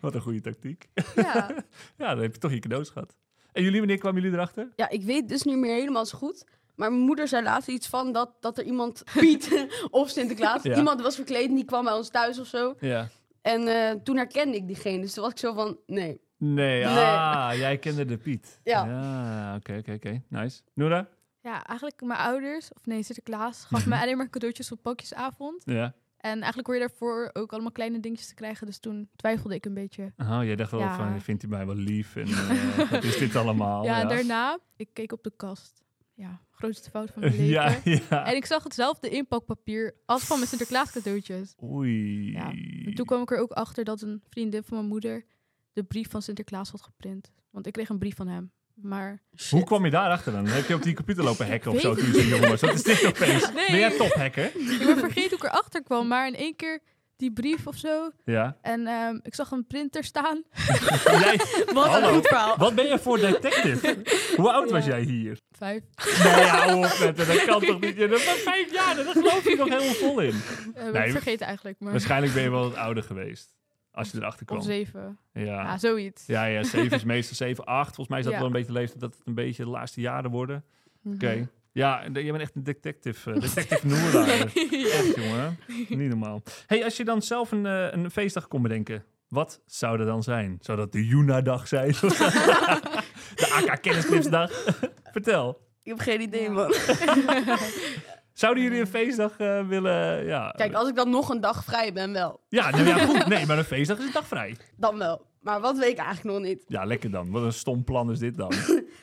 Wat een goede tactiek.
ja.
Ja, dan heb je toch je cadeaus gehad. En jullie, wanneer kwamen jullie erachter?
Ja, ik weet dus niet meer helemaal zo goed. Maar mijn moeder zei laatst iets van dat, dat er iemand, Piet of Sinterklaas,
Ja.
iemand was verkleed en die kwam bij ons thuis of zo.
Ja.
En eh, toen herkende ik diegene. Dus toen was ik zo van, nee.
Nee,
Nee.
ah, jij kende de Piet.
Ja.
oké, oké, oké. Nice. Noora?
Ja, eigenlijk mijn ouders, of nee, Sinterklaas, gaf mij alleen maar cadeautjes op pakjesavond.
Ja.
En eigenlijk hoor je daarvoor ook allemaal kleine dingetjes te krijgen. Dus toen twijfelde ik een beetje.
Oh, jij dacht wel
Ja.
van, vindt hij mij wel lief? En eh, wat is dit allemaal?
ja, en daarna, ik keek op de kast. Ja, grootste fout van mijn leven.
Ja, ja.
En ik zag hetzelfde inpakpapier als van mijn Sinterklaas cadeautjes.
Oei.
Ja, En toen kwam ik er ook achter dat een vriendin van mijn moeder de brief van Sinterklaas had geprint. Want ik kreeg een brief van hem. Maar
Hoe kwam je daarachter dan? Heb je op die computer lopen hacken of
Ik
zo?
weet
Toen je zo jong was. Wat is dit opeens?
Nee.
Ben jij tophacker?
ik ben vergeten hoe ik erachter kwam. Maar in één keer die brief of zo.
Ja.
En ehm, ik zag een printer staan.
Jij,
Wat
Hallo.
een goed verhaal.
wat ben je voor detective? Hoe oud was jij hier?
Vijf.
Nou ja, hou op met het. Dat kan toch niet? Ja, Dat was vijf jaar. Daar geloof je nog helemaal vol in.
Eh, ben
Nee,
ik vergeten eigenlijk. Maar
Waarschijnlijk ben je wel wat ouder geweest. Als je erachter kwam.
of zeven. Ja,
Ja.
zoiets.
Ja, ja, 7 is meestal 7, 8. Volgens mij is dat
Ja.
wel een beetje de leeftijd dat het een beetje de laatste jaren worden.
Mhm.
Oké. Ja, en de- jij bent echt een detective. eh, detective Noora. Echt, jongen. Niet normaal. hey, als je dan zelf een, eh, een feestdag kon bedenken, wat zou dat dan zijn? Zou dat de Juna-dag zijn? de AK-kennislipsdag? Vertel.
Ik heb geen idee,
Ja.
man.
Zouden jullie een feestdag eh, willen... Ja,
Kijk, als ik dan nog een dag vrij ben, wel.
ja, nou ja, goed. Nee, maar een feestdag is een dag vrij.
Dan wel. Maar wat weet ik eigenlijk nog niet.
Ja, lekker dan. Wat een stom plan is dit dan.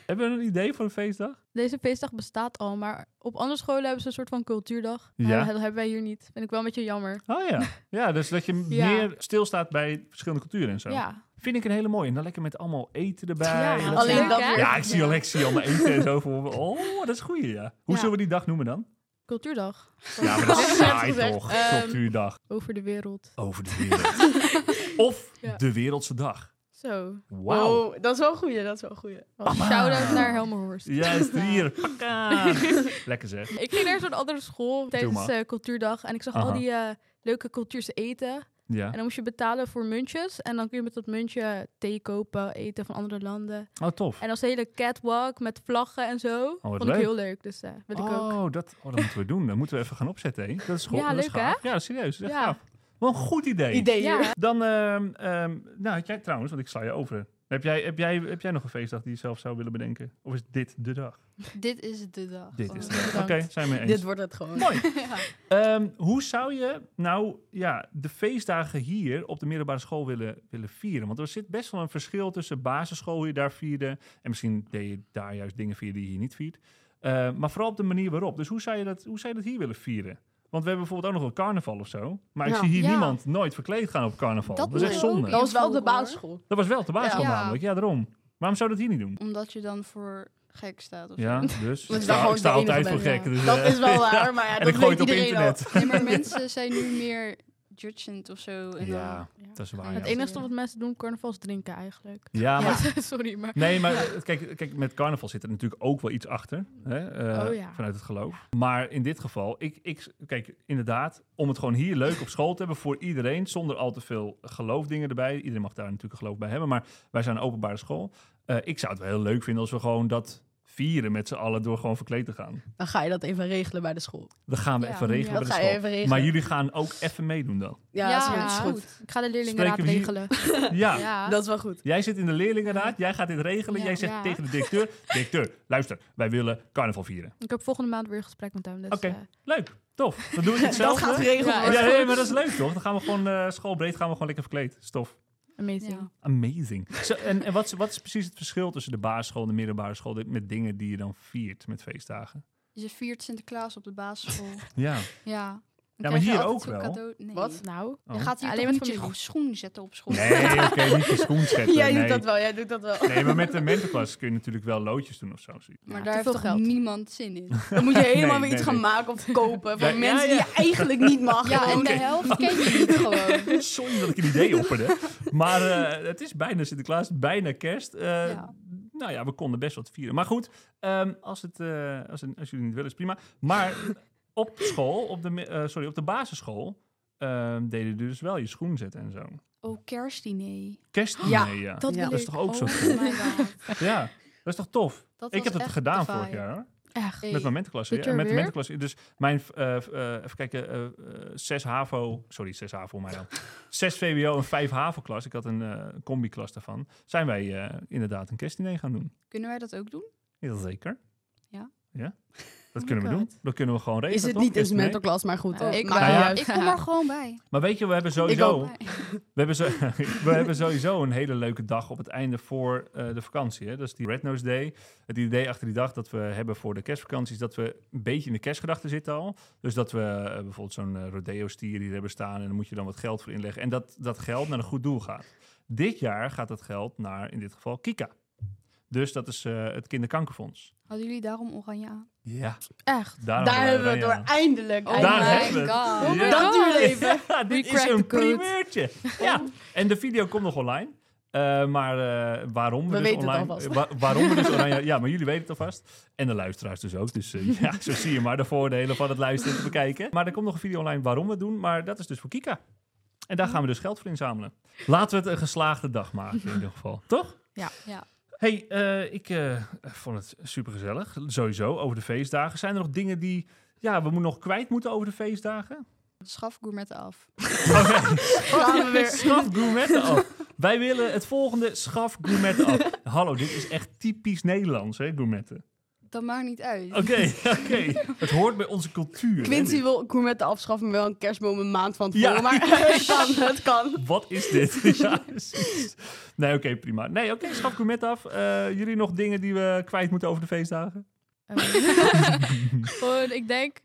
Hebben we een idee voor een feestdag?
Deze feestdag bestaat al, maar op andere scholen hebben ze een soort van cultuurdag.
Ja.
Eh, dat hebben wij hier niet. Vind ik wel een beetje jammer.
Oh ja. Ja, dus dat je
Ja.
meer stilstaat bij verschillende culturen en zo.
Ja.
Vind ik een hele mooie. En dan lekker met allemaal eten erbij.
Ja,
En dat
alleen
soort-
dat
hè?
weer.
Ja, ik zie Alexi allemaal eten en zo. Voor me. Oh, dat is een goeie, ja. Hoe
Ja. Oh.
zullen we die dag noemen dan?
Cultuurdag
Ja, maar dat is saai
gezegd.
toch.
Ehm,
Cultuurdag
over de wereld.
over de wereld. of
Ja.
de wereldse dag.
Zo.
Wauw.
Oh, dat is wel een goeie, dat is wel een goeie.
Shout-out naar Helmer Horst.
Juist hier. Pakka. lekker zeg.
Ik ging naar zo'n andere school tijdens
maar.
eh, cultuurdag en ik zag
Aha.
al die eh, leuke cultuurse eten.
Ja.
En dan moest je betalen voor muntjes en dan kun je met dat muntje thee kopen, eten van andere landen.
Oh, tof.
En als de hele catwalk met vlaggen en zo. vond ik
Oh, leuk.
heel leuk, dus eh wil ik ook.
Oh, dat, oh, dat moeten we doen. Dat moeten we even gaan opzetten. Hè? Dat is goed.
Ja,
dat is
leuk, hè?
gaaf. Ja, serieus. Dat is
Ja.
gaaf. Wat een goed idee.
Idee.
Ja,
hier.
Dan, ehm, ehm, nou, had jij trouwens, want ik sla je over. Heb jij, heb, jij, heb jij nog een feestdag die je zelf zou willen bedenken? Of is dit de dag?
Dit is de dag.
Dit is de
Oh,
dag. Oké,
bedankt.
zijn we eens.
Dit wordt het gewoon.
Mooi. Ehm, hoe zou je nou ja, de feestdagen hier op de middelbare school willen, willen vieren? Want er zit best wel een verschil tussen basisschool hoe je daar vierde... en misschien deed je daar juist dingen vieren die je hier niet viert. Eh, maar vooral op de manier waarop. Dus hoe zou, je dat, hoe zou je dat hier willen vieren? Want we hebben bijvoorbeeld ook nog wel carnaval of zo. Maar ik
Ja.
zie hier
Ja.
niemand nooit verkleed gaan op carnaval. Dat,
Dat
is echt
moet
zonde.
ook
Dat was wel op de
Vroeger.
basisschool.
Dat was wel op de basisschool
Ja.
namelijk. Ja, daarom. Waarom zou dat hier niet doen?
Omdat je dan voor gek staat. Of
Ja,
zo.
dus
Want
ik
ik ben
sta,
gewoon
ik sta
de enige
altijd voor
ben,
gek.
ja.
dus,
Dat
eh,
is wel
ja.
waar, maar ja,
En
dat
ik gooi het
weet
op
iedereen al.
internet.
Nee, maar mensen zijn nu meer judgend of zo. En
Ja, dat is waar.
Het
ja.
enige wat mensen doen, carnavals drinken eigenlijk.
Ja, maar
Sorry, maar...
Nee, maar het- kijk, kijk, met carnaval zit er natuurlijk ook wel iets achter. Hè? eh,
Oh ja.
Vanuit het geloof. Maar in dit geval, ik, ik, kijk, inderdaad, om het gewoon hier leuk op school te hebben voor iedereen, zonder al te veel geloofdingen erbij. Iedereen mag daar natuurlijk een geloof bij hebben, maar wij zijn een openbare school. Eh, ik zou het wel heel leuk vinden als we gewoon dat vieren met z'n allen door gewoon verkleed te gaan.
Dan ga je dat even regelen bij de school.
Dat gaan we
Ja,
even regelen
ja.
bij
Dat
de
ga
school.
je even regelen.
Maar jullie gaan ook even meedoen dan.
Ja,
Ja,
dat is goed, is goed.
Ik ga de leerlingen
Spreken we hier-
regelen.
Ja.
Ja.
Dat is wel goed.
Jij zit in de leerlingenraad, jij gaat dit regelen.
Ja.
jij zegt
Ja.
tegen de directeur, directeur, luister, wij willen carnaval vieren.
Ik heb volgende maand weer een gesprek met hem. Dus,
Oké.
eh,
Leuk, tof. Dan doen we
Dat
hetzelfde.
gaat geregeld
Ja,
Ja,
worden.
is
nee,
goed.
maar dat is leuk toch? Dan gaan we gewoon eh, schoolbreed gaan we gewoon lekker verkleed. Stof.
amazing.
Ja.
Amazing. Zo, en en wat, is- wat is precies het verschil tussen de basisschool en de middelbare school dit- met dingen die je dan viert met feestdagen?
Je viert Sinterklaas op de basisschool.
Ja.
ja. Dan
maar
krijg je
hier
altijd
ook
zo'n
wel. Oh.
Cadeau. Nee.
Wat?
Nou,
Je gaat hier
Alleen
alleen
met
met je
familie.
schoen zetten op school.
Nee, oké, niet je schoen scheppen.
Jij
nee.
doet dat wel, jij doet dat wel.
Nee, maar met de mentorklas kun je natuurlijk wel loodjes doen of zo. zie je.
Maar daar
Ja, te
heeft
veel
toch
geld.
niemand zin in.
Dan moet je helemaal
Nee,
weer iets
nee,
gaan maken of kopen van
Ja,
mensen
ja,
die je eigenlijk niet mag.
Ja, en
Gewoon.
de helft ken je niet gewoon.
Sorry dat ik een idee opperde. Maar eh, het is bijna Sinterklaas, bijna kerst. Eh,
Ja.
Nou ja, we konden best wat vieren. Maar goed, ehm, als, het, eh, als, het- als jullie niet willen, is prima. Maar op school, op de, mi- eh, sorry, op de basisschool, ehm, deden jullie dus wel je schoen zetten en zo.
Oh, kerstdiner.
Kerst,
Ja,
nee, ja.
dat
Ja.
wil
Dat is
ik.
toch ook zo
Oh my god.
Ja, dat is toch tof?
Dat
ik
was
heb dat
echt
gedaan
de
vorig
vibe.
jaar, hoor.
Echt.
Hey.
Met mijn mentorklasse.
Dit
Ja,
jaar
met de
weer?
mentorklasse. Dus mijn, eh, eh, even kijken, eh, eh, zes HAVO, sorry, zes HAVO, maar dan. Zes VWO en vijf HAVO-klas, ik had een eh, combi-klas daarvan. Zijn wij eh, inderdaad een kerstdiner gaan doen.
Kunnen wij dat ook doen?
Jazeker.
Ja.
Ja, dat
my
kunnen we doen.
God.
Dat kunnen we gewoon regelen,
Is het
toch?
niet dus eens
Kerstdiner.
mentorklas, maar goed.
Nou,
eh,
Oh, ik,
maakt
wel.
niet
Ja.
uit.
ik kom er gewoon bij.
Maar weet je, we hebben
ook.
sowieso...
Bij.
We hebben, zo, we hebben sowieso een hele leuke dag op het einde voor eh, de vakantie. Hè? Dat is die Red Nose Day. Het idee achter die dag dat we hebben voor de kerstvakantie is dat we een beetje in de kerstgedachten zitten al. Dus dat we eh, bijvoorbeeld zo'n eh, rodeo-stier hier hebben staan en daar moet je dan wat geld voor inleggen. En dat dat geld naar een goed doel gaat. Dit jaar gaat dat geld naar, in dit geval, Kika. Dus dat is eh, het kinderkankerfonds.
Hadden jullie daarom oranje aan?
Ja,
Echt.
daarom
Daar
hadden
hebben we
wij eh,
het door.
aan.
Eindelijk.
Oh
Daar
my
eindelijk.
hebben we het.
god.
Oh my
Dat
God.
duurt even.
Ja, dit
We
is
cracked
een
the code.
primeurtje. Ja. En de video komt nog online. Eh, maar eh, waarom we,
We
dus
weten het
online...
alvast.
eh, wa- waarom we dus oranje... Ja, maar jullie weten het alvast. En de luisteraars dus ook. Dus eh, ja, zo zie je maar de voordelen van het luisteren te bekijken. Maar er komt nog een video online waarom we het doen. Maar dat is dus voor Kika. En daar gaan we dus geld voor inzamelen. Laten we het een geslaagde dag maken in ieder geval. Toch?
Ja.
Ja.
hey, eh, ik eh, vond het supergezellig. Sowieso, over de feestdagen. Zijn er nog dingen die... Ja, we moeten nog kwijt moeten over de feestdagen?
Schaf gourmet af.
Gaan we weer.
Schaf gourmetten af. Wij willen het volgende schaf gourmetten af. Hallo, dit is echt typisch Nederlands, hè, gourmetten.
Dat maakt niet uit.
Oké, oké. Het hoort bij onze cultuur. hè,
Quincy
dit.
wil gourmetten afschaffen, maar wel een kerstboom een maand van
Ja.
tevoren. Maar het kan, het kan.
Wat is dit? ja, precies. Nee, oké, prima. Nee, oké, schaf gourmet af. Eh, jullie nog dingen die we kwijt moeten over de feestdagen?
Ehm, Gewoon, ik denk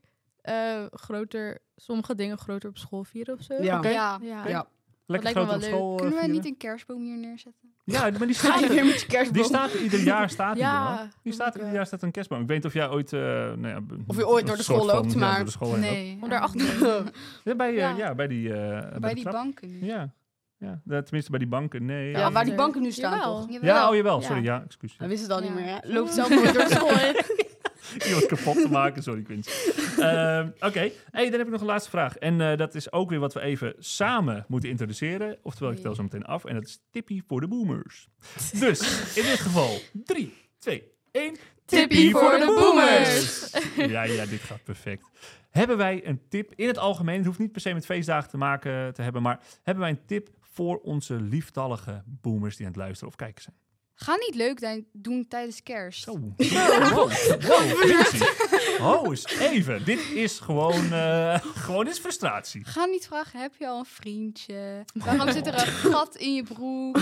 eh, groter, sommige dingen groter op school vieren of zo.
Ja.
Oké.
Ja.
Ja.
Ja.
Lekker
lijkt
groot
me
op
wel
school. eh,
Kunnen wij
vieren?
niet een kerstboom hier neerzetten?
Ja, maar die
Ga
staat
je
er.
weer met je kerstboom.
Die staat er ieder jaar staat die
Ja,
er, hoor. Die staat er ieder jaar staat er een kerstboom. Ik weet niet of jij ooit... eh, nou ja, b-
Of je ooit door de
een soort
school
van-
loopt,
ja,
maar-
door de school heen loopt.
Nee.
Om daarachter
eigenlijk
te
Ja, bij, eh, ja.
Ja.
bij die, eh, bij
niet.
de
Bij die
trap.
banken nu.
Ja. Ja, nou, tenminste bij die banken, nee.
Ja,
Ja,
waar die banken nu staan,
Jawel.
toch?
ja,
Jawel.
oh jawel,
Ja.
sorry, ja, excuus.
Hij wist het al niet
Ja.
meer, hè? Loopt zelf nooit door de school heen.
Iemand kapot te maken, sorry Quincy. Ehm, Oké, hey, dan heb ik nog een laatste vraag. En eh, dat is ook weer wat we even samen moeten introduceren. Oftewel, ik tel zo meteen af. En dat is Tippie voor de Boomers. Dus, in dit geval, 3, 2, 1.
Tippie voor de boomers!
Ja, ja, dit gaat perfect. Hebben wij een tip in het algemeen? Het hoeft niet per se met feestdagen te maken te hebben, maar hebben wij een tip voor onze lieftallige boomers die aan het luisteren of kijken zijn?
Ga niet leuk dijn- doen tijdens kerst.
Zo. Wow, wow, Quincy. Oh, eens even. Dit is gewoon, eh, gewoon is frustratie.
Ga niet vragen, heb je al een vriendje? Waarom zit er een gat in je broek?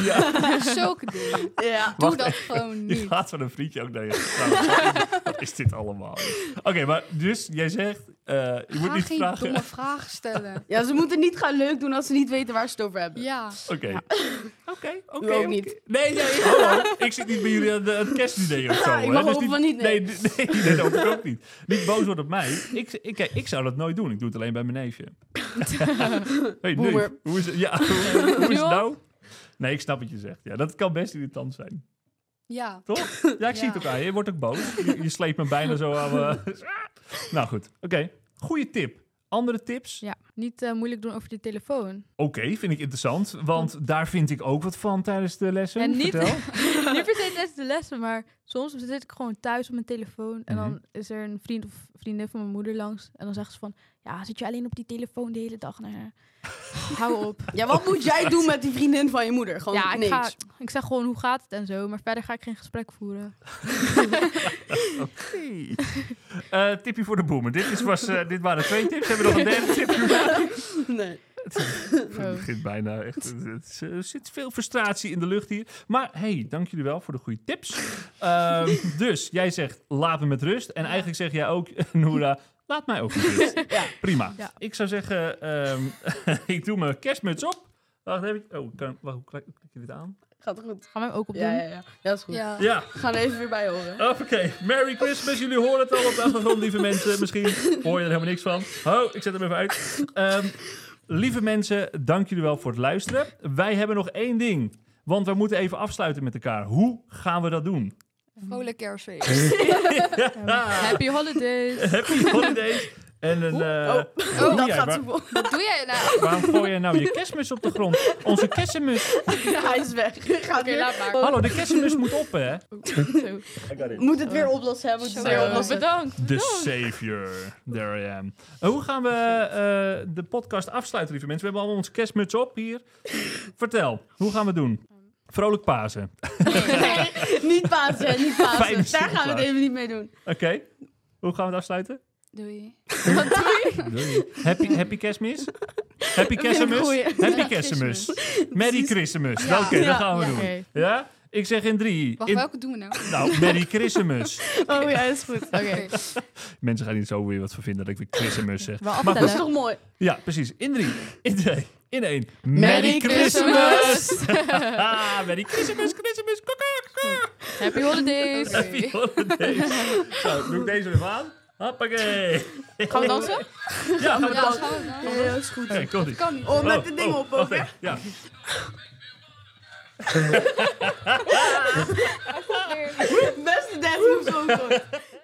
Zulke dingen.
Ja.
Doe
Wacht
dat gewoon
Je
niet.
Nou, gaat van een vriendje ook naar je. Wat is dit allemaal? Oké, maar dus jij zegt, Eh, je moet
Ga
niet
geen
vragen.
domme vragen stellen.
Ja, ze moeten niet gaan leuk doen als ze niet weten waar ze het over hebben.
ja.
Oké. Oké,
U
oké.
ook
oké.
niet.
Nee, nee, hallo. Ik zit niet bij jullie aan de- aan het kerstdiner of zo.
ik
hè.
mag
Dus
hopen van niet,
Nee,
nee.
nee, nee, nee, dat hoop ik ook niet. Niet boos worden op mij. Ik, ik, kijk, ik zou dat nooit doen. Ik doe het alleen bij mijn neefje. hey, neef,
Boomer.
hoe is het? Ja, hoe, hoe is het
al?
nou? Nee, ik snap wat je zegt. Ja, dat kan best irritant zijn.
Ja.
Toch? Ja, ik zie het ook
Ja.
aan je. Je wordt ook boos. Je, je sleept me bijna zo aan. eh, nou goed, oké. Goeie tip. Andere tips?
Ja, niet eh, moeilijk doen over de telefoon.
Oké, vind ik interessant. Want daar vind ik ook wat van tijdens de lessen.
En niet-
Vertel.
niet per se tijdens de lessen, maar soms zit ik gewoon thuis op mijn telefoon. En dan is er een vriend of vriendin van mijn moeder langs. En dan zegt ze van, ja, zit je alleen op die telefoon de hele dag? Nou, ja, hou op.
Ja, wat moet jij doen met die vriendin van je moeder? Gewoon
ja, ik,
niks.
ga, ik zeg gewoon hoe gaat het en zo. Maar verder ga ik geen gesprek voeren.
Eh, tipje voor de boomer. Dit, is, was, eh, dit waren twee tips. Hebben we nog een derde tipje?
Nee.
Het begint bijna echt. het- het- Er zit veel frustratie in de lucht hier. Maar hey, dank jullie wel voor de goede tips. Ehm, dus jij zegt laat me met rust. En eigenlijk zeg jij ook, Noora, laat mij ook met rust. Prima.
Ja.
Ik zou zeggen, ehm, ik doe mijn kerstmuts op. Wacht even. Oh, kan, wacht, hoe klik hoe klik je dit aan?
Gaat goed.
Ga mij hem ook opdoen.
Ja, ja, ja. Ja, is goed.
ja.
Ja.
We gaan er even weer bij horen.
Hoppakee. Merry Christmas. Jullie horen het al op de achtergrond, lieve mensen. Misschien hoor je er helemaal niks van. Ho, ik zet hem even uit. Ehm, lieve mensen, dank jullie wel voor het luisteren. Wij hebben nog één ding. Want we moeten even afsluiten met elkaar. Hoe gaan we dat doen?
Vrolijk kerstfeest.
Happy holidays.
Happy holidays. En een... eh,
Oh, dat
jij,
gaat
waar-
zo vol.
Wat doe jij nou?
waarom gooi je nou je kerstmis op de grond? Onze kerstmis.
Hij is weg. Gaat
Oké,
weer. Oh,
laat maar.
Hallo, de kerstmis moet op, hè?
Zo.
Moet het weer oplossen, hè? Moet het weer
Zo.
Oh,
oplossen.
bedankt.
The savior. There I am. En hoe gaan we eh, de podcast afsluiten, lieve mensen? We hebben allemaal onze kerstmuts op hier. Vertel, hoe gaan we het doen? Vrolijk Pasen.
niet Pasen, niet
Fijne
Pasen. Daar gaan we
Sinterklaas.
het even niet mee doen.
Oké. Hoe gaan we het afsluiten?
Doei.
Happy, happy kerstmis? Happy kerstmis?
goeie.
Happy kerstmis. Merry Christmas. Oké, dat gaan we
Ja,
doen.
oké.
Ja? Ik zeg in drie.
Wacht,
in-
welke doen we nou?
Nou, Merry Christmas.
Oh ja, is goed.
Oké,
Mensen gaan niet zo weer wat vervinden dat ik weer Christmas zeg.
wel
Maar
Dat is
aftellen.
toch mooi?
Ja, precies. In drie, in twee, in één.
Merry
ah, Merry Christmas, Christmas, kaka, kaka.
Happy holidays.
Happy holidays. Zo, doe ik deze weer aan. Hoppakee.
Gaan we dansen?
Ja, gaan we
Ja,
dansen.
gaan we dan?
Ja, is goed.
Oké, komt ie.
Kan niet.
Oh, met de ding op ook,
wacht
hè?
even, Ja.
Beste dance moves ook, hoor.